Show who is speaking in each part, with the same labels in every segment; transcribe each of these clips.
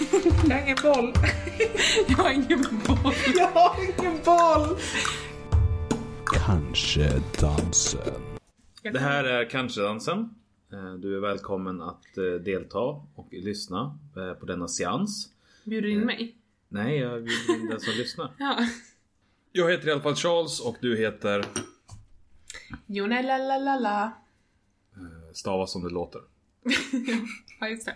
Speaker 1: har ingen boll.
Speaker 2: Jag har ingen boll.
Speaker 1: Jag har ingen boll.
Speaker 3: Kanske dansen.
Speaker 4: Det här är kanske dansen. Eh, Du är välkommen att eh, delta och lyssna eh, på denna seans.
Speaker 2: Bjuder du in mig?
Speaker 4: Nej, jag vill inte den som lyssnar.
Speaker 2: Ja.
Speaker 4: Jag heter i alla fall Charles och du heter...
Speaker 2: Jone la la la la.
Speaker 4: Stavas som det låter.
Speaker 2: Ja, just det.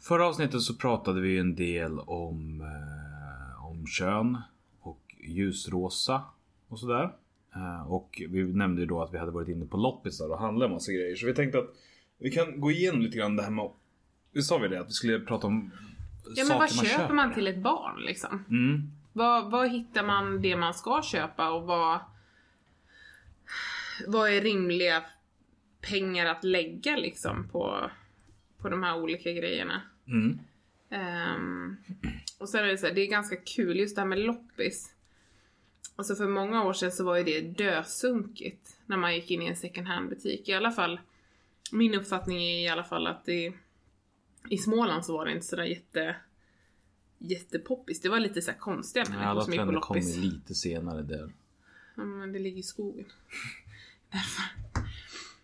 Speaker 4: Förra avsnittet så pratade vi ju en del om, eh, om kön och ljusrosa och sådär. Eh, och vi nämnde ju då att vi hade varit inne på loppisar och handlat en massa grejer. Så vi tänkte att vi kan gå igenom lite grann det här med... Hur sa vi det? Att vi skulle prata om
Speaker 2: Ja, men vad köper man till ett barn liksom?
Speaker 4: Mm.
Speaker 2: Vad, vad hittar man det man ska köpa och vad... Vad är rimliga pengar att lägga liksom på, på de här olika grejerna?
Speaker 4: Mm.
Speaker 2: Ehm, och sen är det så här, det är ganska kul just det här med loppis. Alltså för många år sedan så var ju det dösunkigt när man gick in i en second hand butik. I alla fall, min uppfattning är i alla fall att det, i Småland så var det inte sådär jätte, jättepoppis. Det var lite så här konstiga människor
Speaker 4: Alla
Speaker 2: som gick på
Speaker 4: trender kommer
Speaker 2: loppis.
Speaker 4: lite senare där.
Speaker 2: Ja, men det ligger i skogen. Därför.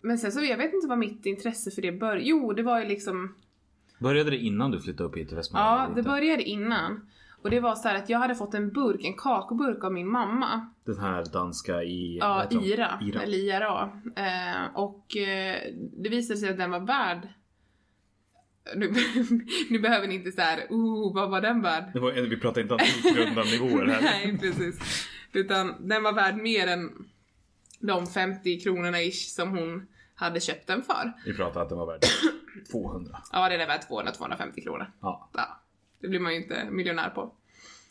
Speaker 2: Men sen så, jag vet inte vad mitt intresse för det började. Jo, det var ju liksom
Speaker 4: Började det innan du flyttade upp hit till Västmanland?
Speaker 2: Ja,
Speaker 4: Typ, eller
Speaker 2: det
Speaker 4: inte?
Speaker 2: började innan. Och det var så här att jag hade fått en burk, en kakburk av min mamma.
Speaker 4: Den här danska i... vad
Speaker 2: Ja,
Speaker 4: heter de?
Speaker 2: IRA,
Speaker 4: Ira.
Speaker 2: eller IRA. Eh, och eh, det visade sig att den var värd... Nu, nu behöver ni inte så här, oh, vad var den värd?
Speaker 4: Det var, vi pratar inte om grundande nivåer här.
Speaker 2: Nej, precis. Utan den var värd mer än de 50 kronorna ish som hon hade köpt den för.
Speaker 4: Vi pratar att den var värd 200.
Speaker 2: Ja, den är värd 200-250 kronor.
Speaker 4: Ja.
Speaker 2: Ja, det blir man ju inte miljonär på.
Speaker 4: Men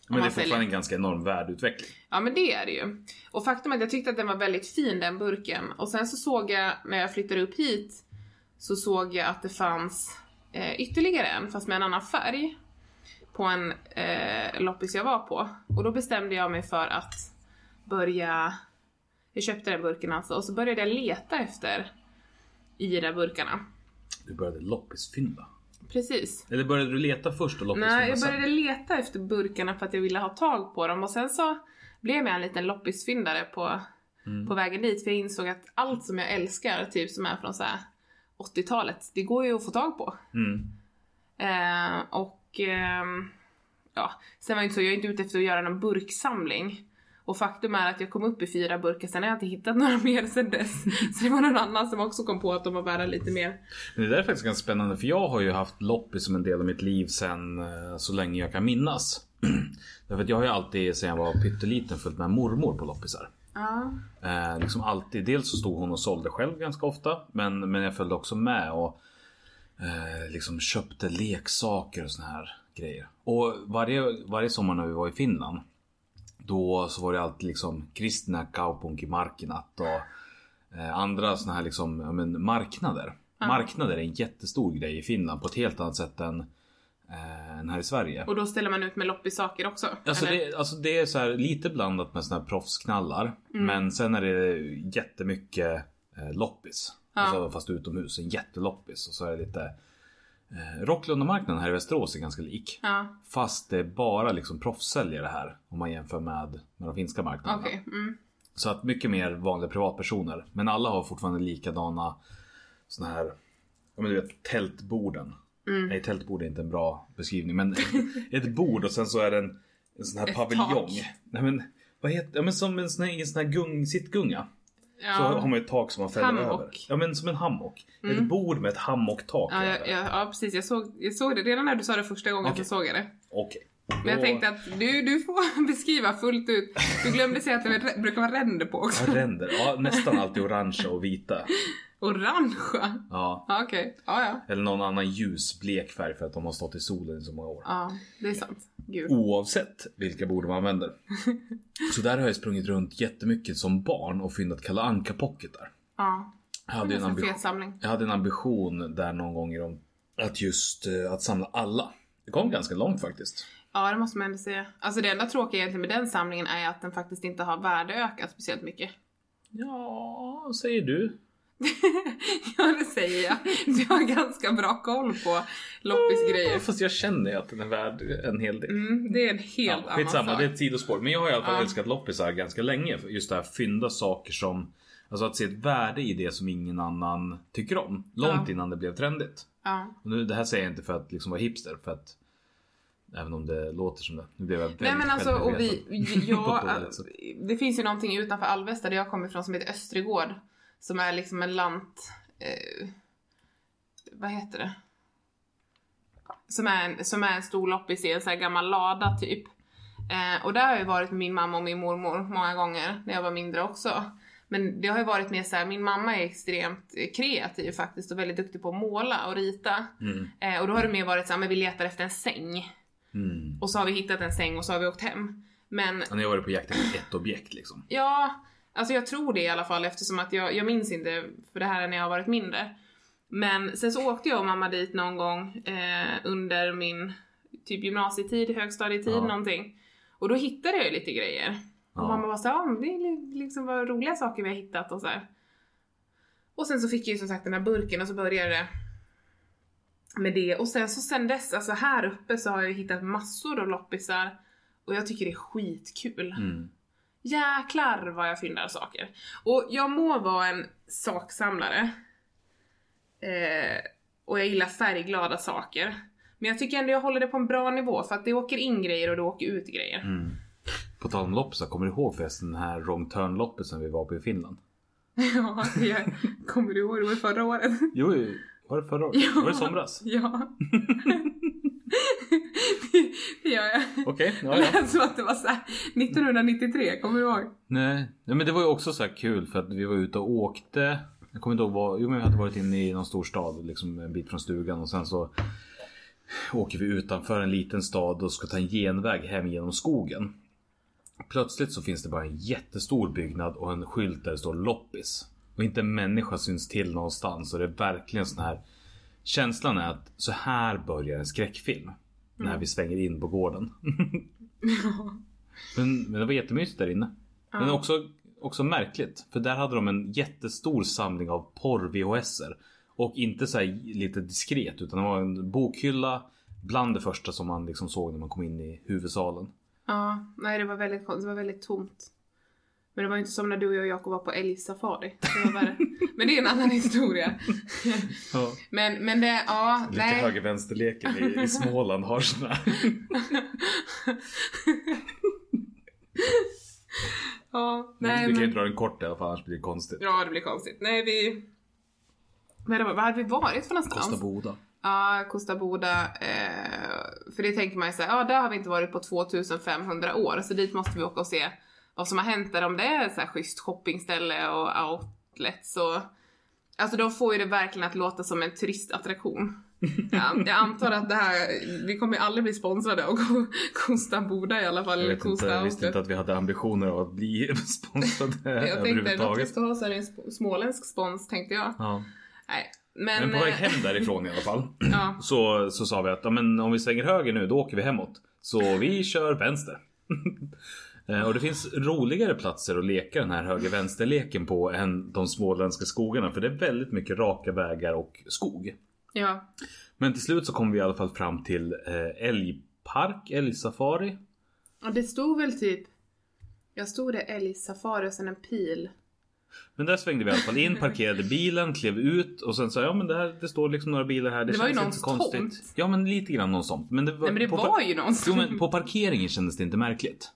Speaker 4: det
Speaker 2: man
Speaker 4: är fortfarande
Speaker 2: säljer.
Speaker 4: en ganska enorm värdeutveckling.
Speaker 2: Ja men det är det ju. Och faktum är att jag tyckte att den var väldigt fin den burken. Och sen så såg jag, när jag flyttade upp hit, så såg jag att det fanns eh, ytterligare en, fast med en annan färg. På en eh, loppis jag var på. Och då bestämde jag mig för att börja, jag köpte den burken alltså, och så började jag leta efter i de där burkarna.
Speaker 4: Du började loppisfynda.
Speaker 2: Precis.
Speaker 4: Eller började du leta först och loppisfynda
Speaker 2: Nej, jag
Speaker 4: sen?
Speaker 2: började leta efter burkarna för att jag ville ha tag på dem och sen så blev jag en liten loppisfyndare på,
Speaker 4: Mm.
Speaker 2: på vägen dit för jag insåg att allt som jag älskar, typ som är från så här 80-talet, det går ju att få tag på.
Speaker 4: Mm.
Speaker 2: Eh, och ehm, ja, sen var det inte så, jag är inte ute efter att göra någon burksamling. Och faktum är att jag kom upp i fyra burkar, sen har jag inte hittat några mer sen dess. Så det var någon annan som också kom på att de var värda lite mer.
Speaker 4: Men det där är faktiskt ganska spännande för jag har ju haft loppis som en del av mitt liv sen eh, så länge jag kan minnas. Därför att jag har ju alltid sen jag var pytteliten följt med mormor på loppisar.
Speaker 2: Ja,
Speaker 4: Eh, liksom alltid, dels så stod hon och sålde själv ganska ofta men, men jag följde också med och eh, liksom köpte leksaker och såna här grejer. Och varje, varje sommar när vi var i Finland då så var det alltid liksom kristna kaupunkimarknat och eh, andra såna här liksom, ja, men, marknader. Marknader är en jättestor grej i Finland på ett helt annat sätt än, eh, än här i Sverige.
Speaker 2: och då ställer man ut med loppissaker också.
Speaker 4: Alltså
Speaker 2: eller?
Speaker 4: det, alltså det är så här lite blandat med såna här proffsknallar.
Speaker 2: Mm.
Speaker 4: Men sen är det jättemycket eh, loppis.
Speaker 2: Ja.
Speaker 4: Alltså, fast utomhus, en jätteloppis. Och så är det lite... Eh, Rocklundamarknaden här i Västerås är ganska lik.
Speaker 2: Ja.
Speaker 4: Fast det är bara liksom proffssäljare här. Om man jämför med, med de finska marknaderna.
Speaker 2: Okej, mm.
Speaker 4: Så att mycket mer vanliga privatpersoner. Men alla har fortfarande likadana såna här, ja men du vet tältborden.
Speaker 2: Mm.
Speaker 4: Nej tältbord är inte en bra beskrivning men ett bord och sen så är det en, en sån här
Speaker 2: Ett
Speaker 4: paviljong.
Speaker 2: tak.
Speaker 4: Nej men vad heter Ja men som en sån här, en sån här gung, sittgunga. Så har
Speaker 2: Ja.
Speaker 4: man ett tak som man fäller
Speaker 2: Hammock. Mm.
Speaker 4: över. Ja men som en hammock. Ett bord med ett hammocktak
Speaker 2: Ja, ja,
Speaker 4: över.
Speaker 2: ja, ja precis, jag såg, jag såg det redan när du sa det första gången
Speaker 4: Okej.
Speaker 2: så såg jag det.
Speaker 4: Okej.
Speaker 2: Men jag
Speaker 4: Då-
Speaker 2: tänkte att du, du får beskriva fullt ut. Du glömde säga att det var- brukar vara ränder på också.
Speaker 4: Ja, Ränder, ja nästan alltid orangea och vita.
Speaker 2: Orangea.
Speaker 4: Ja.
Speaker 2: Ja okej, ja ja.
Speaker 4: Eller någon annan ljusblek färg för att de har stått i solen i så många år.
Speaker 2: Ja, det är sant. Gud.
Speaker 4: oavsett vilka bord man använder. Så där har jag sprungit runt jättemycket som barn och fyndat Kalle Anka-pocketar.
Speaker 2: Ja.
Speaker 4: Jag
Speaker 2: Det
Speaker 4: hade,
Speaker 2: är
Speaker 4: en
Speaker 2: en ganska
Speaker 4: ambition,
Speaker 2: fet samling.
Speaker 4: jag hade en ambition där någon gång i dem att just eh, att samla alla. Det kom ganska långt faktiskt.
Speaker 2: Ja, det måste man ändå säga. Alltså det enda tråkiga egentligen med den samlingen är att den faktiskt inte har värdeökat speciellt mycket.
Speaker 4: Ja, säger du.
Speaker 2: ja, det säger jag. Du har ganska bra koll på
Speaker 4: Ja,
Speaker 2: loppisgrejer.
Speaker 4: Fast jag känner ju att den är värd en hel del.
Speaker 2: Mm, det är en helt
Speaker 4: ja,
Speaker 2: annan
Speaker 4: skitsamma,
Speaker 2: sak.
Speaker 4: det är ett sidospår. Men jag har i alla fall
Speaker 2: Ja.
Speaker 4: älskat loppisar ganska länge. För Just det här fynda saker som... Alltså att se ett värde i det som ingen annan tycker om. Långt
Speaker 2: Ja.
Speaker 4: innan det blev trendigt.
Speaker 2: Ja.
Speaker 4: Och nu, det här säger jag inte för att liksom vara hipster. För att, även om det låter som det. Nu blev jag väldigt
Speaker 2: Nej men alltså, och vi, alltså- liksom.
Speaker 4: självmedveten. På
Speaker 2: ja,
Speaker 4: ett dåligt sätt.
Speaker 2: det finns ju någonting utanför Alvesta där jag kommer ifrån som heter Östergård. Som är liksom en lant... Eh, vad heter det? Som är en, som är en stor loppis i en sån här gammal lada typ. Eh, och där har jag ju varit med min mamma och min mormor många gånger när jag var mindre också. Men det har ju varit mer så här, min mamma är extremt eh, kreativ faktiskt och väldigt duktig på att måla och rita.
Speaker 4: Mm.
Speaker 2: Eh, och då har det mer varit så här, men vi letar efter en säng.
Speaker 4: Mm.
Speaker 2: Och så har vi hittat en säng och så har vi åkt hem. Men
Speaker 4: Ja, Ni har varit på jakt efter ett objekt liksom.
Speaker 2: ja, alltså jag tror det i alla fall eftersom att jag, jag minns inte för det här är när jag har varit mindre. Men sen så åkte jag och mamma dit någon gång eh, under min typ gymnasietid, högstadietid
Speaker 4: Ja.
Speaker 2: någonting. Och då hittade jag ju lite grejer.
Speaker 4: Ja.
Speaker 2: Och mamma var så här, "Ja, men det är li- liksom var roliga saker vi har hittat och så här. Och sen så fick jag ju som sagt den här burken och så började det med det. Och sen så sen dess, alltså här uppe så har jag ju hittat massor av loppisar. Och jag tycker det är skitkul.
Speaker 4: Mm.
Speaker 2: Jäklar vad jag fyndar saker. Och jag må vara en saksamlare. Eh, och jag gillar färgglada saker. Men jag tycker ändå jag håller det på en bra nivå för att det åker in grejer och det åker ut grejer.
Speaker 4: Mm. På tal om loppisar, kommer du ihåg förresten den här wrong turn loppisen vi var på i Finland?
Speaker 2: ja, jag kommer du ihåg det var förra året?
Speaker 4: Jo, jo, var det förra året?
Speaker 2: Ja.
Speaker 4: Var det i somras?
Speaker 2: ja. det, det gör jag.
Speaker 4: Okej, ja,
Speaker 2: Det
Speaker 4: ja.
Speaker 2: lät som att det var såhär 1993, kommer du ihåg?
Speaker 4: Nej. Nej, men det var ju också så här kul för att vi var ute och åkte. Jag kommer inte ihåg vad, jo men vi hade varit inne i någon stor stad, liksom en bit från stugan och sen så åker vi utanför en liten stad och ska ta en genväg hem genom skogen. Plötsligt så finns det bara en jättestor byggnad och en skylt där det står loppis. Och inte en människa syns till någonstans och det är verkligen sån här Känslan är att så här börjar en skräckfilm. När vi svänger in på gården. men, men det var jättemysigt där inne. Men också, också märkligt. För där hade de en jättestor samling av porr-VHSer. Och inte så här lite diskret utan det var en bokhylla. Bland det första som man liksom såg när man kom in i huvudsalen.
Speaker 2: Ja, nej det var väldigt, kon- det var väldigt tomt. Men det var ju inte som när du och jag och Jakob var på älgsafari. Det var värre. Men det är en annan historia. Men, men det, ja,
Speaker 4: Lite
Speaker 2: nej.
Speaker 4: höger-vänster-leken i, i Småland har såna här.
Speaker 2: Ja,
Speaker 4: Nej,
Speaker 2: nej
Speaker 4: du kan ju
Speaker 2: men.
Speaker 4: dra den kort i alla fall annars blir det konstigt.
Speaker 2: Ja, det blir konstigt. Nej, vi... Men det var, vad hade vi varit för någonstans?
Speaker 4: Kosta Boda.
Speaker 2: Ja, Costa Boda. Eh, för det tänker man ju såhär, ja där har vi inte varit på 2500 år. Så dit måste vi åka och se vad som har hänt där. Om det är så här schysst shoppingställe och outlets och... Alltså de får ju det verkligen att låta som en turistattraktion. Ja, jag antar att det här, vi kommer ju aldrig bli sponsrade av Costa Boda i alla fall.
Speaker 4: Jag
Speaker 2: eller
Speaker 4: vet
Speaker 2: Costa
Speaker 4: inte, jag visste
Speaker 2: Outlet.
Speaker 4: inte att vi hade ambitioner av att bli sponsrade
Speaker 2: Jag tänkte att vi
Speaker 4: överhuvudtaget.
Speaker 2: ska ha så här en sp- småländsk spons tänkte jag.
Speaker 4: Ja.
Speaker 2: Nej, men...
Speaker 4: Men på väg
Speaker 2: eh,
Speaker 4: hem därifrån i alla fall
Speaker 2: Ja,
Speaker 4: så, så sa vi att ja, men om vi svänger höger nu då åker vi hemåt. Så vi kör vänster. Eh, Och det finns roligare platser att leka den här höger-vänster-leken på än de småländska skogarna. För det är väldigt mycket raka vägar och skog.
Speaker 2: eh, ja.
Speaker 4: Men till slut så kom vi i alla fall fram till eh, älgpark, älgsafari.
Speaker 2: Och det stod väl typ... Jag stod det älgsafari och sen en pil.
Speaker 4: Men där svängde vi i alla fall in, parkerade bilen, klev ut och sen sa jag, ja men det, här, det står liksom några bilar här. Det,
Speaker 2: Det var ju
Speaker 4: känns inte
Speaker 2: någons
Speaker 4: så konstigt.
Speaker 2: tomt.
Speaker 4: Ja men lite grann någon sånt. Men det var,
Speaker 2: Nej men det
Speaker 4: på,
Speaker 2: var ju någon
Speaker 4: Jo
Speaker 2: som...
Speaker 4: men på parkeringen kändes det inte märkligt.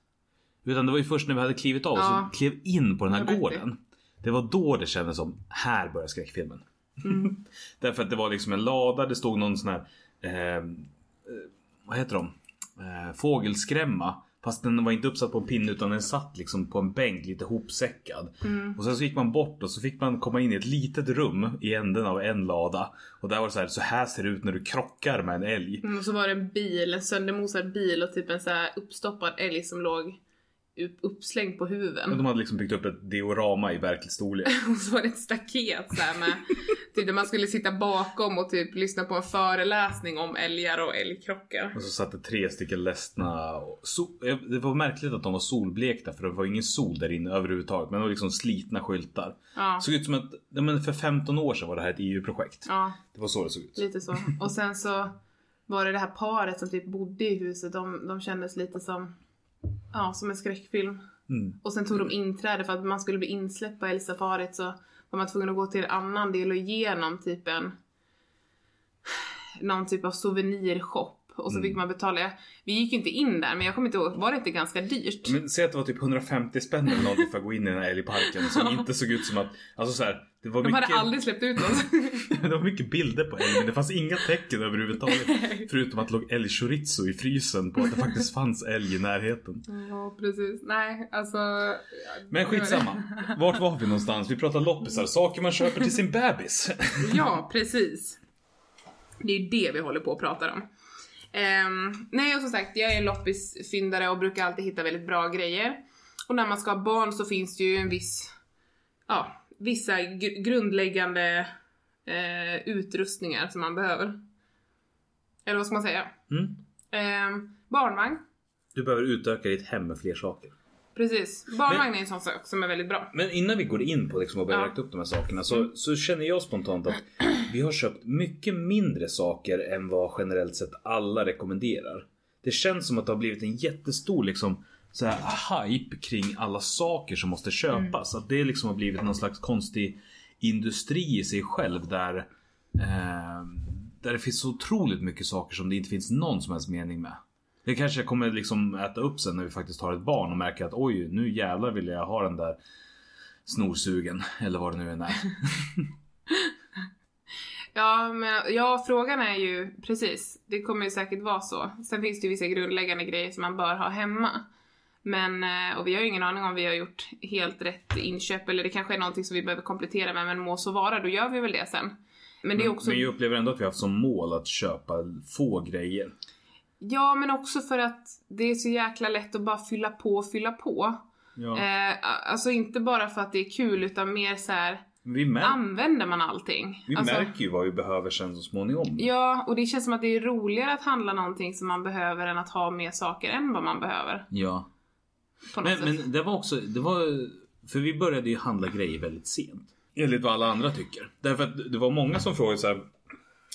Speaker 4: Utan det var ju först när vi hade klivit av och
Speaker 2: Ja.
Speaker 4: så klev in på den här
Speaker 2: Det var rätt
Speaker 4: gården. Det var då det kändes som, här börjar skräckfilmen.
Speaker 2: Mm.
Speaker 4: Därför att det var liksom en lada, det stod någon sån här, eh, eh, vad heter de? Eh, fågelskrämma. Fast den var inte uppsatt på en pinne utan den satt liksom på en bänk lite hopsäckad.
Speaker 2: Mm.
Speaker 4: Och sen så gick man bort och så fick man komma in i ett litet rum i änden av en lada. Och där var det så här, så här ser det ut när du krockar med en älg.
Speaker 2: Mm, Och så var det en bil, en söndermosad bil och typ en så här uppstoppad älg som låg upp- uppslängd på huvuden.
Speaker 4: Men De hade liksom byggt upp ett diorama i verklig storlek.
Speaker 2: Och så var det ett staket så här med, typ där man skulle sitta bakom och typ lyssna på en föreläsning om älgar och älgkrockar.
Speaker 4: Och så satt det tre stycken ledsna. och So- eh, det var märkligt att de var solblekta för det var ingen sol där inne överhuvudtaget. Men det var liksom slitna skyltar.
Speaker 2: Ja.
Speaker 4: Såg ut som att ja, men för 15 år sedan var det här ett EU-projekt.
Speaker 2: ja, Mm.
Speaker 4: Det var så det såg ut.
Speaker 2: lite så. Och sen så var det det här paret som typ bodde i huset, de, de kändes lite som, ja, som en skräckfilm.
Speaker 4: Mm.
Speaker 2: Och sen tog de inträde för att man skulle bli insläppt på Elsafaret så var man tvungen att gå till en annan del och igenom typ en någon typ av souvenirshop och så
Speaker 4: Mm.
Speaker 2: fick man betala. Vi gick ju inte in där men jag kommer inte ihåg, var det inte ganska dyrt?
Speaker 4: Men säg att det var typ 150 spänn eller någonting för att gå in i den här älgparken som inte såg ut som att... Alltså så här, det var
Speaker 2: De hade
Speaker 4: mycket...
Speaker 2: aldrig släppt ut oss.
Speaker 4: Det var mycket bilder på älg men det fanns inga tecken överhuvudtaget. Förutom att det låg älgchorizo i frysen på att det faktiskt fanns älg i närheten.
Speaker 2: ja, precis. Nej, alltså.
Speaker 4: Men skitsamma. Vart var vi någonstans? Vi pratar loppisar, saker man köper till sin bebis.
Speaker 2: Ja, precis. Det är ju det vi håller på att prata om. Ehm, nej, och som sagt, jag är en loppisfyndare och brukar alltid hitta väldigt bra grejer. Och när man ska ha barn så finns det ju en viss, ja, vissa gr- grundläggande eh, utrustningar som man behöver. Eller vad ska man säga?
Speaker 4: Mm.
Speaker 2: Ehm, barnvagn,
Speaker 4: Du behöver utöka ditt hem med fler saker.
Speaker 2: precis. Barnvagn är en sån sak som är väldigt bra.
Speaker 4: Men innan vi går in på liksom att börja
Speaker 2: Ja.
Speaker 4: räkna upp de här sakerna så, så känner jag spontant att vi har köpt mycket mindre saker än vad generellt sett alla rekommenderar. Det känns som att det har blivit en jättestor liksom så här hype kring alla saker som måste köpas. Att det liksom har blivit någon slags konstig industri i sig själv där, eh, där det finns så otroligt mycket saker som det inte finns någon som helst mening med. Det kanske jag kommer liksom äta upp sen när vi faktiskt har ett barn och märker att oj, nu jävlar vill jag ha den där snorsugen eller vad det nu än är.
Speaker 2: Ja, men, ja, frågan är ju precis. Det kommer ju säkert vara så. Sen finns det ju vissa grundläggande grejer som man bör ha hemma. Men, eh, och vi har ju ingen aning om vi har gjort helt rätt inköp eller det kanske är någonting som vi behöver komplettera med, men må så vara, då gör vi väl det sen. Men det är också,
Speaker 4: Men jag upplever ändå att vi har haft som mål att köpa få grejer.
Speaker 2: ja men också för att det är så jäkla lätt att bara fylla på, fylla på.
Speaker 4: Ja.
Speaker 2: Eh, a- alltså inte bara för att det är kul utan mer så här
Speaker 4: vi mär-
Speaker 2: använder man allting?
Speaker 4: vi
Speaker 2: alltså,
Speaker 4: märker ju vad vi behöver sen så småningom.
Speaker 2: Ja, och det känns som att det är roligare att handla någonting som man behöver än att ha mer saker än vad man behöver.
Speaker 4: Ja.
Speaker 2: På något
Speaker 4: Men,
Speaker 2: sätt.
Speaker 4: men det var också, det var, för vi började ju handla grejer väldigt sent. Enligt vad alla andra tycker. Därför att det var många som frågade så här.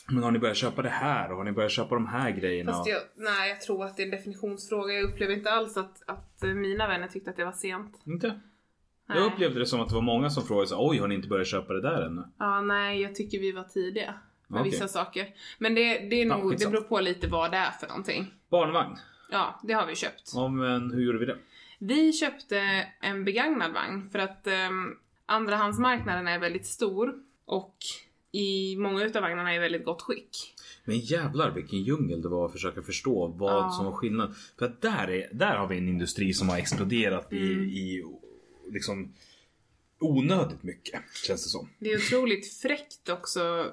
Speaker 4: Men har ni börjat köpa det här? Och har ni börjat köpa de här grejerna?
Speaker 2: Fast jag, nej, jag tror att det är en definitionsfråga. Jag upplever inte alls att, att eh, mina vänner tyckte att det var sent.
Speaker 4: Inte?
Speaker 2: Nej.
Speaker 4: Jag upplevde det som att det var många som frågade så här, Oj, har ni inte börjat köpa det där ännu?
Speaker 2: Ja, nej, jag tycker vi var tidiga med
Speaker 4: Okej.
Speaker 2: vissa saker. Men det, det, är
Speaker 4: Ja,
Speaker 2: nog, det
Speaker 4: skitsamma.
Speaker 2: beror på lite vad det är för någonting.
Speaker 4: Barnvagn.
Speaker 2: Ja, det har vi köpt.
Speaker 4: Ja, men hur gjorde vi det?
Speaker 2: Vi köpte en begagnad vagn för att um, andrahandsmarknaden är väldigt stor och i många utav vagnarna är i väldigt gott skick.
Speaker 4: Men jävlar vilken djungel det var att försöka förstå vad
Speaker 2: Ja.
Speaker 4: som var skillnaden. För att där, är, där har vi en industri som har exploderat i,
Speaker 2: Mm.
Speaker 4: i liksom onödigt mycket känns det som.
Speaker 2: Det är otroligt fräckt också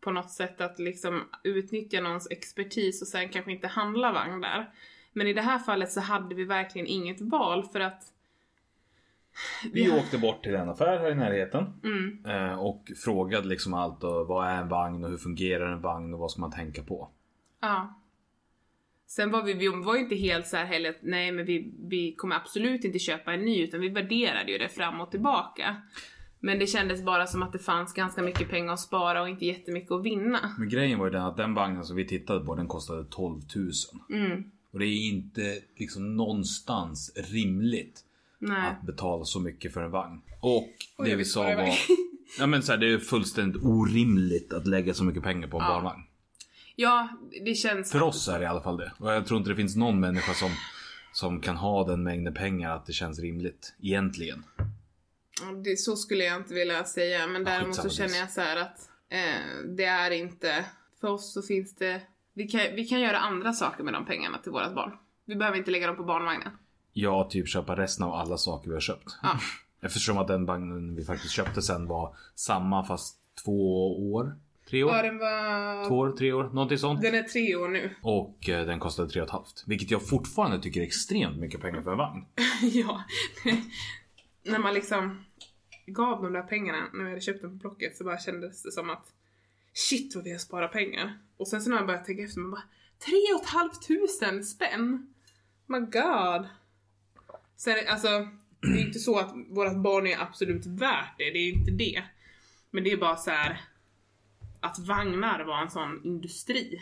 Speaker 2: på något sätt att liksom utnyttja någons expertis och sen kanske inte handla vagn där. Men i det här fallet så hade vi verkligen inget val för att
Speaker 4: Vi åkte bort till en affär här i närheten
Speaker 2: mm,
Speaker 4: eh, och frågade liksom allt och vad är en vagn och hur fungerar en vagn och vad ska man tänka på.
Speaker 2: ja. Sen var vi, vi var ju inte helt så här heller att nej men vi, vi kommer absolut inte köpa en ny utan vi värderade ju det fram och tillbaka. Men det kändes bara som att det fanns ganska mycket pengar att spara och inte jättemycket att vinna.
Speaker 4: Men grejen var ju den att den vagnen som vi tittade på den kostade 12 000.
Speaker 2: Mm,
Speaker 4: Och det är inte liksom någonstans rimligt
Speaker 2: nej.
Speaker 4: att betala så mycket för en vagn. Och
Speaker 2: Oj,
Speaker 4: det
Speaker 2: jag
Speaker 4: vi
Speaker 2: vill
Speaker 4: sa
Speaker 2: spara
Speaker 4: var...
Speaker 2: iväg.
Speaker 4: Ja, men så här, det är fullständigt orimligt att lägga så mycket pengar på en
Speaker 2: Ja.
Speaker 4: barnvagn.
Speaker 2: Ja, det känns...
Speaker 4: För oss är det i alla fall det. Och jag tror inte det finns någon människa som, som kan ha den mängden pengar att det känns rimligt. Egentligen.
Speaker 2: Ja, Det, så skulle jag inte vilja säga, men
Speaker 4: Ja,
Speaker 2: däremot så
Speaker 4: skitsamma,
Speaker 2: känner jag så här att eh, det är inte, för oss så finns det, vi kan, vi kan göra andra saker med de pengarna till vårat barn. Vi behöver inte lägga dem på barnvagnen.
Speaker 4: Jag typ köpa resten av alla saker vi har köpt.
Speaker 2: Ja.
Speaker 4: Eftersom att den vagnen vi faktiskt köpte sen var samma fast två år. Tre
Speaker 2: Ja,
Speaker 4: år?
Speaker 2: den var...
Speaker 4: Två år? Tre år? Någonting sånt.
Speaker 2: Den är tre år nu.
Speaker 4: Och eh, den kostade tre och ett halvt. Vilket jag fortfarande tycker är extremt mycket pengar för en vagn.
Speaker 2: ja. När man liksom gav de där pengarna när vi hade köpt den på Blocket så bara kändes det som att shit vad vi har sparat pengar. Och sen så när man började tänka efter man bara tre och ett halvt tusen spänn! My god! Sen, alltså, det är ju inte så att vårt barn är absolut värt det, det är ju inte det. Men det är bara så här att vagnar var en sån industri.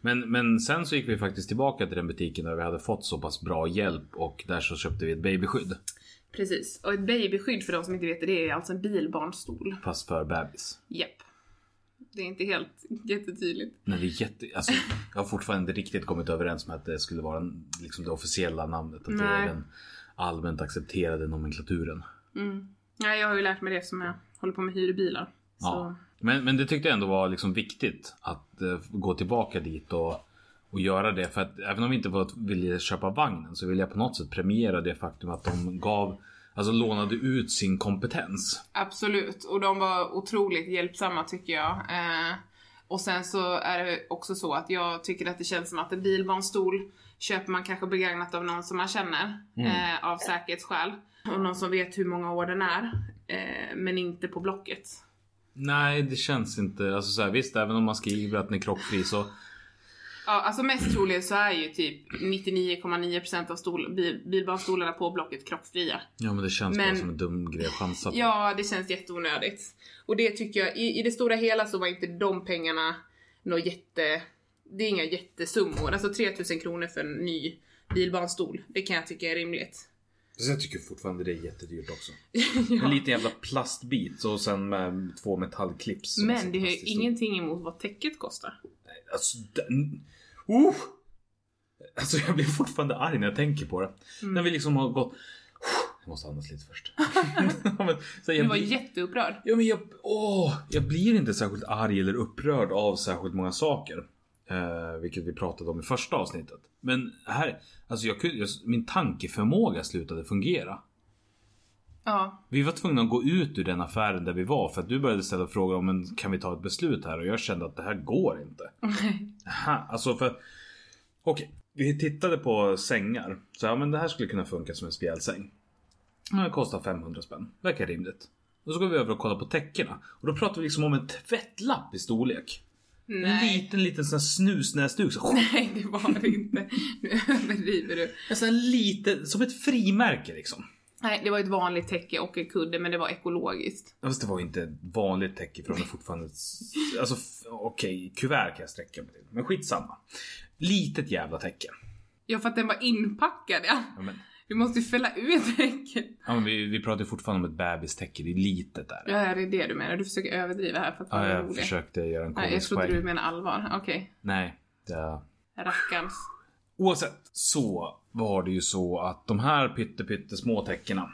Speaker 4: Men, men sen så gick vi faktiskt tillbaka till den butiken där vi hade fått så pass bra hjälp och där så köpte vi ett babyskydd.
Speaker 2: Precis, och ett babyskydd för de som inte vet det, det är alltså en bilbarnstol.
Speaker 4: Fast för bebis.
Speaker 2: Japp. Det är inte helt jättetydligt.
Speaker 4: Men vi är jätte, alltså, jag har fortfarande inte riktigt kommit överens med att det skulle vara en, liksom det officiella namnet. Att det är
Speaker 2: Nej.
Speaker 4: den allmänt accepterade nomenklaturen.
Speaker 2: Nej, jag har ju lärt mig det som jag håller på med hyrbilar. Så.
Speaker 4: Ja. Men, men det tyckte jag ändå var liksom viktigt att eh, gå tillbaka dit och, och göra det. För att även om vi inte var, ville köpa vagnen så ville jag på något sätt premiera det faktum att de gav, alltså lånade ut sin kompetens.
Speaker 2: Absolut, och de var otroligt hjälpsamma tycker jag. Eh, och sen så är det också så att jag tycker att det känns som att en bilbarnstol köper man kanske begagnat av någon som man känner eh, av säkerhetsskäl. Och någon som vet hur många år den är. Eh, men inte på Blocket.
Speaker 4: Nej, det känns inte. Alltså så här, visst, även om man skriver att den är krockfri så
Speaker 2: Ja, alltså mest troligen så är ju typ 99,9% av stol, bil, bilbarnstolarna på Blocket krockfria.
Speaker 4: Ja, men det känns
Speaker 2: Men-
Speaker 4: bara som en dum grej att chansa på.
Speaker 2: Ja, det känns jätteonödigt. Och det tycker jag, i, i det stora hela så var inte de pengarna något jätte... Det är inga jättesummor. Alltså 3000 kronor för en ny bilbarnstol. Det kan jag tycka är rimligt.
Speaker 4: Så jag tycker fortfarande det är jättedyrt också. En
Speaker 2: ja.
Speaker 4: liten jävla plastbit och sen med två metallklips. som
Speaker 2: Men
Speaker 4: sitter
Speaker 2: det har ju
Speaker 4: fast i stolen.
Speaker 2: ingenting emot vad täcket kostar.
Speaker 4: Alltså, den... oh! alltså jag blir fortfarande arg när jag tänker på det.
Speaker 2: Mm.
Speaker 4: När vi liksom har gått... Jag måste andas lite först. ja, men, så jag
Speaker 2: Du var
Speaker 4: blir-
Speaker 2: jätteupprörd.
Speaker 4: Ja, men jag, åh, jag blir inte särskilt arg eller upprörd av särskilt många saker. Eh, vilket vi pratade om i första avsnittet. Men här, alltså jag, kunde- jag, min tankeförmåga slutade fungera.
Speaker 2: Ja.
Speaker 4: Vi var tvungna att gå ut ur den affären där vi var för att du började ställa frågor om men kan vi ta ett beslut här och jag kände att det här går inte. Aha, alltså för... Okej, vi tittade på sängar. Så ja, men det här skulle kunna funka som en spjälsäng. Ja, Det kostar 500 spänn. Verkar rimligt. Och så går vi över och kollar på täckena. Och då pratar vi liksom om en tvättlapp i storlek. En
Speaker 2: Nej.
Speaker 4: liten, liten sån här snusnäsduk. Så,
Speaker 2: Nej, det var det inte. Nu överdriver du.
Speaker 4: en sån här liten, som ett frimärke liksom.
Speaker 2: Nej, det var ett vanligt täcke och en kudde, men det var ekologiskt.
Speaker 4: Ja, Fast det var ju inte ett vanligt täcke för de är fortfarande... Alltså f- okej, kuvert kan jag sträcka mig till. Men skitsamma. Litet jävla täcke.
Speaker 2: Ja, för att den var inpackad, ja.
Speaker 4: Ja, men,
Speaker 2: Vi måste ju fälla ut täcket.
Speaker 4: ja, men vi, vi pratar ju fortfarande om ett bebistäcke, det är litet där.
Speaker 2: Ja, det är det du menar. Du försöker överdriva här för att
Speaker 4: Ja,
Speaker 2: vara
Speaker 4: jag
Speaker 2: rolig.
Speaker 4: försökte göra en
Speaker 2: Nej, jag
Speaker 4: komisk
Speaker 2: trodde du
Speaker 4: poäng.
Speaker 2: menade allvar. Okej,
Speaker 4: Nej. Det...
Speaker 2: rackarns.
Speaker 4: Oavsett så var det ju så att de här pytte pytte små täckena.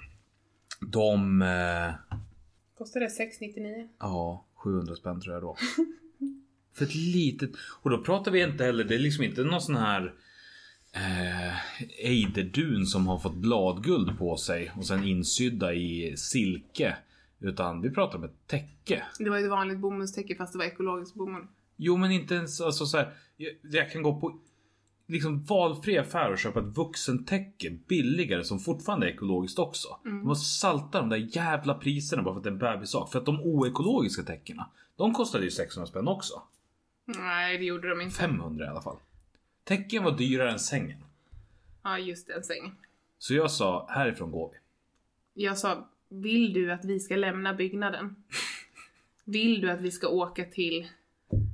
Speaker 4: De... Eh,
Speaker 2: Kostar det 699?
Speaker 4: Ja, 700 spänn tror jag då. För ett litet... Och då pratar vi inte heller, det är liksom inte någon sån här eh, ejderdun som har fått bladguld på sig och sen insydda i silke. Utan vi pratar om ett täcke.
Speaker 2: Det var ju ett vanligt bomullstäcke fast det var ekologiskt bomull.
Speaker 4: Jo men inte ens alltså så här, jag, jag kan gå på liksom valfri affär och köpa ett vuxentäcke billigare som fortfarande är ekologiskt också. De måste salta de där jävla priserna bara för att det är en bebissak. För att de oekologiska täckena, de kostade ju 600 spänn också.
Speaker 2: Nej, det gjorde de inte.
Speaker 4: 500 i alla fall. Täcken var dyrare än sängen.
Speaker 2: Ja, just den sängen.
Speaker 4: Så jag sa, härifrån går vi.
Speaker 2: Jag sa, vill du att vi ska lämna byggnaden? Vill du att vi ska åka till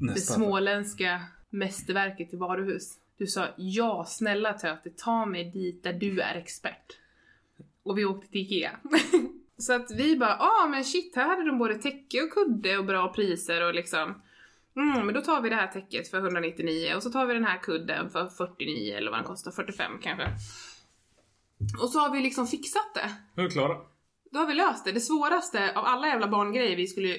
Speaker 2: det
Speaker 4: Nästa affär.
Speaker 2: småländska mästerverket i varuhus? Du sa, ja snälla töte, ta mig dit där du är expert. Och vi åkte till Ikea. Så att vi bara, ja ah, men shit här hade de både täcke och kudde och bra priser och liksom Mm, men då tar vi det här täcket för 199 och så tar vi den här kudden för 49 eller vad den kostar, 45 kanske. Och så har vi liksom fixat det.
Speaker 4: Nu är vi klara.
Speaker 2: Då har vi löst det. Det svåraste av alla jävla barngrejer vi skulle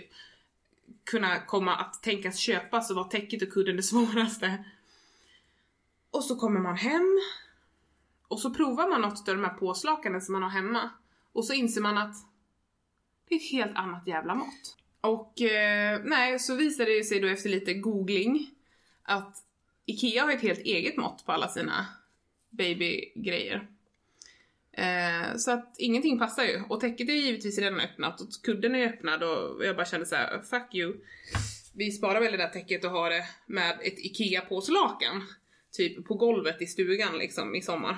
Speaker 2: kunna komma att tänkas köpa så var täcket och kudden det svåraste. Och så kommer man hem och så provar man något av de här påslakanen som man har hemma och så inser man att det är ett helt annat jävla mått. Och eh, nej, så visade det sig då efter lite googling att IKEA har ett helt eget mått på alla sina babygrejer. Eh, så att ingenting passar ju. Och täcket är ju givetvis redan öppnat och kudden är öppnad och jag bara kände så här: fuck you. Vi sparar väl det där täcket och har det med ett IKEA-påslakan. Typ på golvet i stugan liksom i sommar.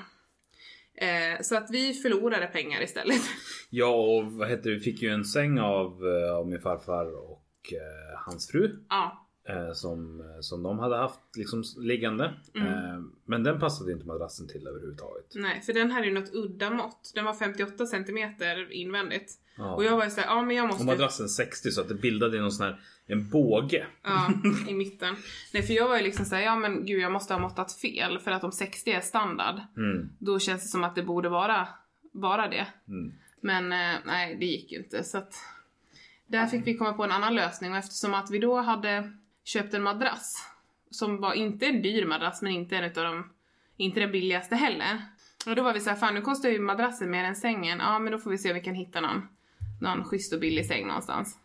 Speaker 2: Eh, så att vi förlorade pengar istället.
Speaker 4: Ja och vad heter det, vi fick ju en säng av, eh, av min farfar och eh, hans fru.
Speaker 2: ja,
Speaker 4: eh, som, som de hade haft liksom liggande.
Speaker 2: Mm.
Speaker 4: Eh, men den passade inte madrassen till överhuvudtaget.
Speaker 2: nej, för den här är ju något udda mått. Den var 58 centimeter invändigt.
Speaker 4: Ja.
Speaker 2: Och jag var ju såhär, ja men jag måste...
Speaker 4: Och madrassen 60 så att det bildade någon sån här en båge.
Speaker 2: Ja, i mitten. Nej för jag var ju liksom såhär, ja men gud jag måste ha måttat fel för att om 60 är standard
Speaker 4: Mm.
Speaker 2: då känns det som att det borde vara, vara det.
Speaker 4: Mm.
Speaker 2: Men eh, nej det gick ju inte så att där fick vi komma på en annan lösning och eftersom att vi då hade köpt en madrass som var inte en dyr madrass men inte en utav de, inte den billigaste heller. Och då var vi så här, fan nu kostar ju madrassen mer än sängen, ja men då får vi se om vi kan hitta någon, någon schysst och billig säng någonstans.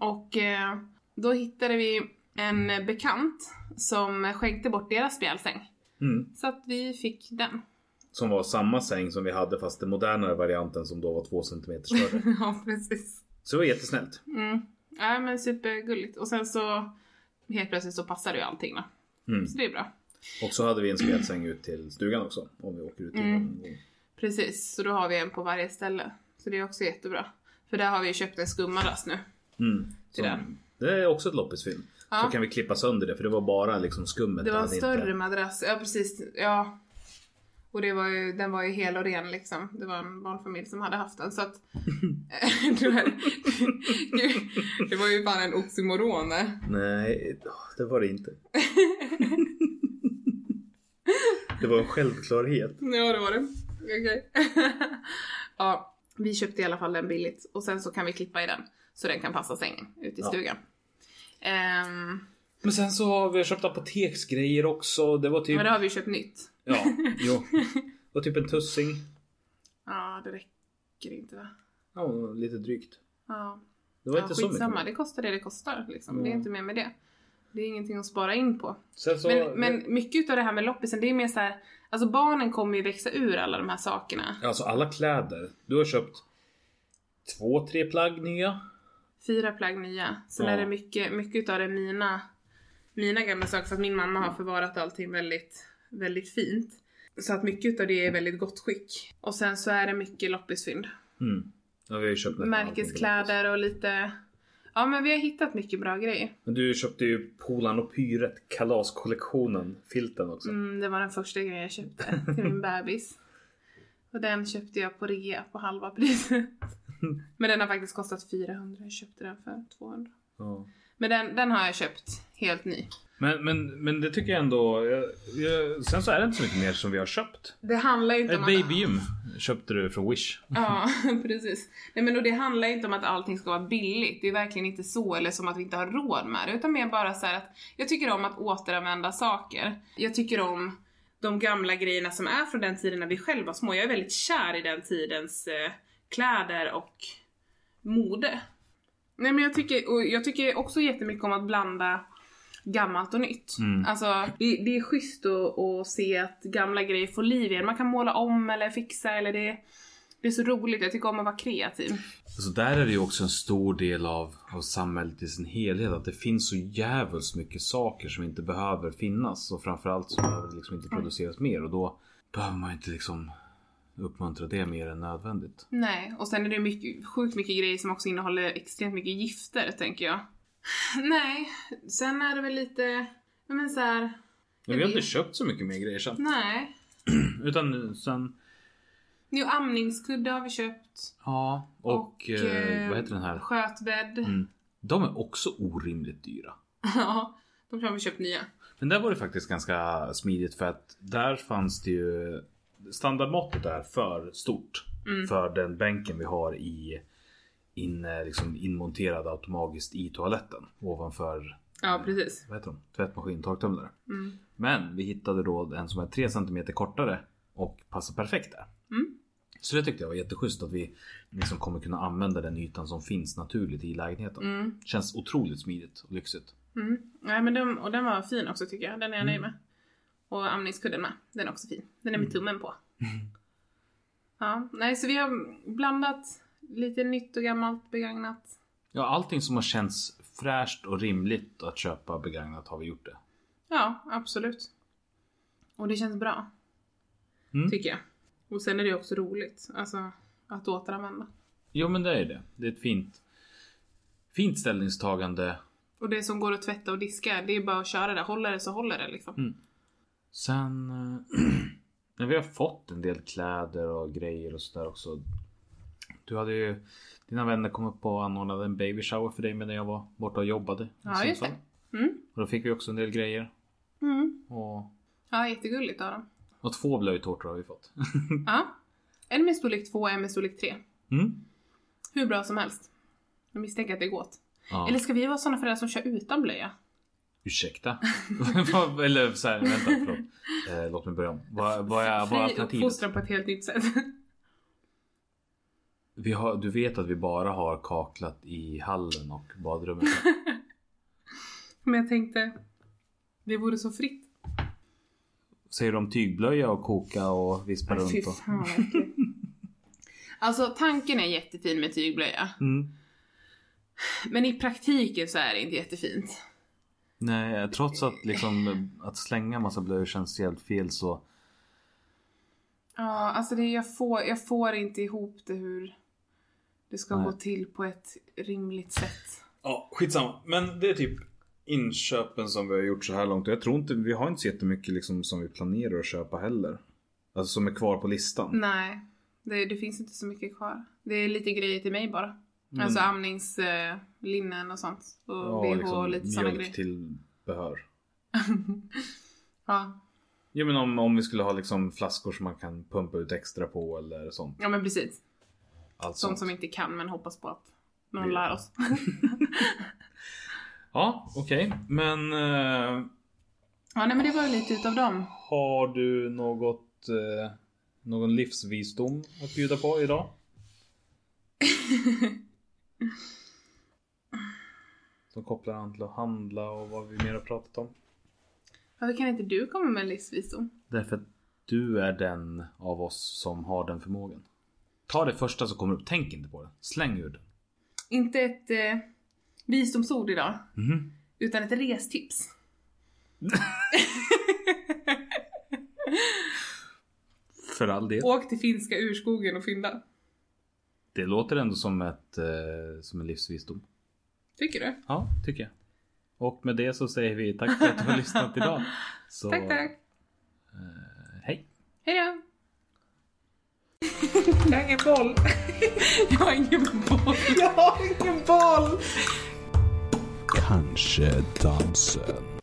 Speaker 2: Och eh, då hittade vi en bekant som skänkte bort deras spjälsäng.
Speaker 4: Mm.
Speaker 2: Så att vi fick den.
Speaker 4: Som var samma säng som vi hade fast den modernare varianten som då var 2 cm större.
Speaker 2: ja precis.
Speaker 4: Så det var jättesnällt.
Speaker 2: Mm. Ja men supergulligt. Och sen så helt plötsligt så passar det ju allting då.
Speaker 4: Mm.
Speaker 2: Så det är bra.
Speaker 4: Och så hade vi en spjälsäng ut till stugan också. Om vi åker ut till
Speaker 2: Mm.
Speaker 4: någon gång.
Speaker 2: Precis, så då har vi en på varje ställe. Så det är också jättebra. För där har vi ju köpt en skummadrass nu.
Speaker 4: Mm.
Speaker 2: Till
Speaker 4: Så-
Speaker 2: den.
Speaker 4: Det är också ett loppisfilm.
Speaker 2: Ja.
Speaker 4: Så kan vi klippa sönder det för det var bara liksom skummet.
Speaker 2: Det var en
Speaker 4: hade
Speaker 2: större
Speaker 4: Inte...
Speaker 2: madrass. Ja precis, ja. Och det var ju, den var ju hel och ren liksom. Det var en barnfamilj som hade haft den så att... det, var, Gud, det var ju bara en oxymoron eh. där.
Speaker 4: Nej, det var det inte. det var en självklarhet.
Speaker 2: Ja det var det. Okej. ja, vi köpte i alla fall den billigt och sen så kan vi klippa i den så den kan passa sängen ute i
Speaker 4: Ja.
Speaker 2: stugan. Ehm,
Speaker 4: Men sen så har vi köpt apoteksgrejer också. Det var typ...
Speaker 2: Men då har vi ju köpt nytt.
Speaker 4: Ja, jo. Det var typ en tussing.
Speaker 2: Ja det räcker inte va?
Speaker 4: Ja, lite drygt.
Speaker 2: Ja,
Speaker 4: Det var
Speaker 2: ja
Speaker 4: inte så mycket.
Speaker 2: skitsamma,
Speaker 4: mer.
Speaker 2: det kostar det det kostar liksom. Det är
Speaker 4: Mm.
Speaker 2: inte mer med det. Det är ingenting att spara in på.
Speaker 4: Sen så...
Speaker 2: men, men mycket av det här med loppisen det är mer så här, alltså barnen kommer ju växa ur alla de här sakerna.
Speaker 4: Alltså alla kläder. Du har köpt två, tre plagg nya.
Speaker 2: fyra plagg nya. Sen
Speaker 4: Ja.
Speaker 2: är det mycket, mycket av det mina, mina gamla saker för att min mamma har förvarat allting väldigt, väldigt fint. Så att mycket av det är i väldigt gott skick. Och sen så är det mycket loppisfynd.
Speaker 4: Mm. Ja, vi har ju köpt nästan allting på loppis.
Speaker 2: Märkeskläder och lite... Ja men vi har hittat mycket bra grejer.
Speaker 4: Men du köpte ju Polan och Pyret kalaskollektionen, filten också.
Speaker 2: Mm, det var den första grejen jag köpte till min bebis. Och den köpte jag på rea på halva priset. Men den har faktiskt kostat 400. Jag köpte den för 200.
Speaker 4: Ja.
Speaker 2: Men den, den har jag köpt helt ny.
Speaker 4: Men, men, men det tycker jag ändå. Jag, jag, sen så är det inte så mycket mer som vi har köpt.
Speaker 2: Det handlar ju inte
Speaker 4: Ett
Speaker 2: om att-
Speaker 4: babygym köpte du från Wish.
Speaker 2: Ja, precis. Nej, men och det handlar ju inte om att allting ska vara billigt. Det är verkligen inte så, eller som att vi inte har råd med det. Utan mer bara så här att jag tycker om att återanvända saker. Jag tycker om de gamla grejerna som är från den tiden när vi själva var små. Jag är väldigt kär i den tidens eh, kläder och mode. Nej men jag tycker, och jag tycker också jättemycket om att blanda gammalt och nytt.
Speaker 4: Mm.
Speaker 2: Alltså det, det är schysst att, att se att gamla grejer får liv igen. Man kan måla om eller fixa eller det, det är så roligt. Jag tycker om att vara kreativ.
Speaker 4: Alltså där är det ju också en stor del av, av samhället i sin helhet. Att det finns så jävligt mycket saker som inte behöver finnas. Och framförallt så behöver det liksom inte
Speaker 2: Mm.
Speaker 4: produceras mer. Och då behöver man inte liksom uppmuntra det mer än nödvändigt.
Speaker 2: Nej, och sen är det mycket, sjukt mycket grejer som också innehåller extremt mycket gifter tänker jag. Nej, sen är det väl lite, ja, men så här,
Speaker 4: Men vi har inte köpt så mycket mer grejer sen.
Speaker 2: nej.
Speaker 4: Utan sen,
Speaker 2: Jo, amningskudde har vi köpt.
Speaker 4: ja. Och, eh, vad heter den här?
Speaker 2: Skötbädd.
Speaker 4: Mm. De är också orimligt dyra.
Speaker 2: Ja, de har vi köpt nya.
Speaker 4: Men där var det faktiskt ganska smidigt för att där fanns det ju Standardmåttet är för stort
Speaker 2: Mm.
Speaker 4: för den bänken vi har i in, eh, liksom inmonterad automatiskt i toaletten ovanför
Speaker 2: Ja, precis.
Speaker 4: vad heter de? tvättmaskin, torktumlare.
Speaker 2: Mm.
Speaker 4: Men vi hittade då en som är 3 cm kortare och passar perfekt där.
Speaker 2: Mm.
Speaker 4: Så det tyckte jag var jätteschysst att vi liksom kommer kunna använda den ytan som finns naturligt i lägenheten.
Speaker 2: Mm.
Speaker 4: Känns otroligt smidigt och lyxigt.
Speaker 2: Mm. Nej, men den, och den var fin också tycker jag. Den är jag nöjd med. Och amningskudden med. Den är också fin. Den är med tummen på. Ja, nej så vi har blandat lite nytt och gammalt begagnat.
Speaker 4: Ja, allting som har känts fräscht och rimligt att köpa begagnat har vi gjort det.
Speaker 2: Ja, absolut. Och det känns bra.
Speaker 4: Mm.
Speaker 2: Tycker jag. Och sen är det ju också roligt. Alltså att återanvända.
Speaker 4: Jo, men det är det. Det är ett fint, fint ställningstagande.
Speaker 2: Och det som går att tvätta och diska, det är bara att köra det. Håller det så håller det liksom.
Speaker 4: Sen... eh, När vi har fått en del kläder och grejer och sådär också. Du hade ju... Dina vänner kom upp och anordnade en baby shower för dig medan jag var borta och jobbade. i
Speaker 2: Ja, just
Speaker 4: Sundsvall.
Speaker 2: det. Mm.
Speaker 4: Och då fick vi också en del grejer.
Speaker 2: Mm.
Speaker 4: Och,
Speaker 2: Ja, jättegulligt av dem.
Speaker 4: och två blöjtårtor har vi fått.
Speaker 2: Ja. En med storlek 2 och en med storlek 3.
Speaker 4: Mm.
Speaker 2: Hur bra som helst. Jag misstänker att det är gott.
Speaker 4: Ja.
Speaker 2: Eller ska vi vara sådana föräldrar som kör utan blöja?
Speaker 4: Ursäkta? Vad- Eller så här, vänta, förlåt. Eh, låt mig börja om. Vad, vad är, vad är
Speaker 2: Fri
Speaker 4: alternativet?
Speaker 2: uppfostran på ett helt nytt sätt.
Speaker 4: Vi har, du vet att vi bara har kaklat i hallen och badrummet.
Speaker 2: Men jag tänkte, det vore så fritt.
Speaker 4: Säger de tygblöja och koka och vispa
Speaker 2: Nej,
Speaker 4: runt? Och...
Speaker 2: fan vad äckligt. Alltså tanken är jättefin med tygblöja.
Speaker 4: Mm.
Speaker 2: Men i praktiken så är det inte jättefint.
Speaker 4: Nej, trots att liksom att slänga massa blöjor känns jävligt fel så.
Speaker 2: Ja, alltså det, jag, får, jag får inte ihop det hur det ska
Speaker 4: Nej.
Speaker 2: gå till på ett rimligt sätt.
Speaker 4: Ja, skitsamma. Men det är typ inköpen som vi har gjort så här långt. Och jag tror inte, vi har inte så jättemycket liksom som vi planerar att köpa heller. Alltså som är kvar på listan.
Speaker 2: Nej, det, det finns inte så mycket kvar. Det är lite grejer till mig bara.
Speaker 4: Men-
Speaker 2: Alltså amningslinnen och sånt. Och bh
Speaker 4: liksom
Speaker 2: och lite sådana grejer.
Speaker 4: mjölktillbehör.
Speaker 2: Ja.
Speaker 4: Jo men om, om vi skulle ha liksom flaskor som man kan pumpa ut extra på eller sånt.
Speaker 2: ja, men precis.
Speaker 4: Allt
Speaker 2: Sånt
Speaker 4: sånt.
Speaker 2: som vi inte kan men hoppas på att någon
Speaker 4: Det-
Speaker 2: lär oss.
Speaker 4: Ja, okej. Men eh,
Speaker 2: Ja, nej men det var ju lite utav dem.
Speaker 4: har du något, eh, någon livsvisdom att bjuda på idag? som kopplar an till att handla och vad vi mer har pratat om.
Speaker 2: Varför kan inte du komma med en livsvisdom?
Speaker 4: Därför att du är den av oss som har den förmågan. Ta det första som kommer upp. Tänk inte på det. Släng ur den.
Speaker 2: Inte ett eh, visdomsord idag,
Speaker 4: Mhm.
Speaker 2: utan ett restips.
Speaker 4: För all del.
Speaker 2: Åk till finska urskogen och fynda.
Speaker 4: Det låter ändå som, ett, eh, som en livsvisdom.
Speaker 2: Tycker du?
Speaker 4: Ja, tycker jag. Och med det så säger vi tack för att du har lyssnat idag. Så,
Speaker 2: Tack, tack.
Speaker 4: eh, Hej.
Speaker 2: Hej då. Jag har ingen boll. Jag har ingen boll.
Speaker 1: Jag har ingen boll!
Speaker 3: Kanske dansen.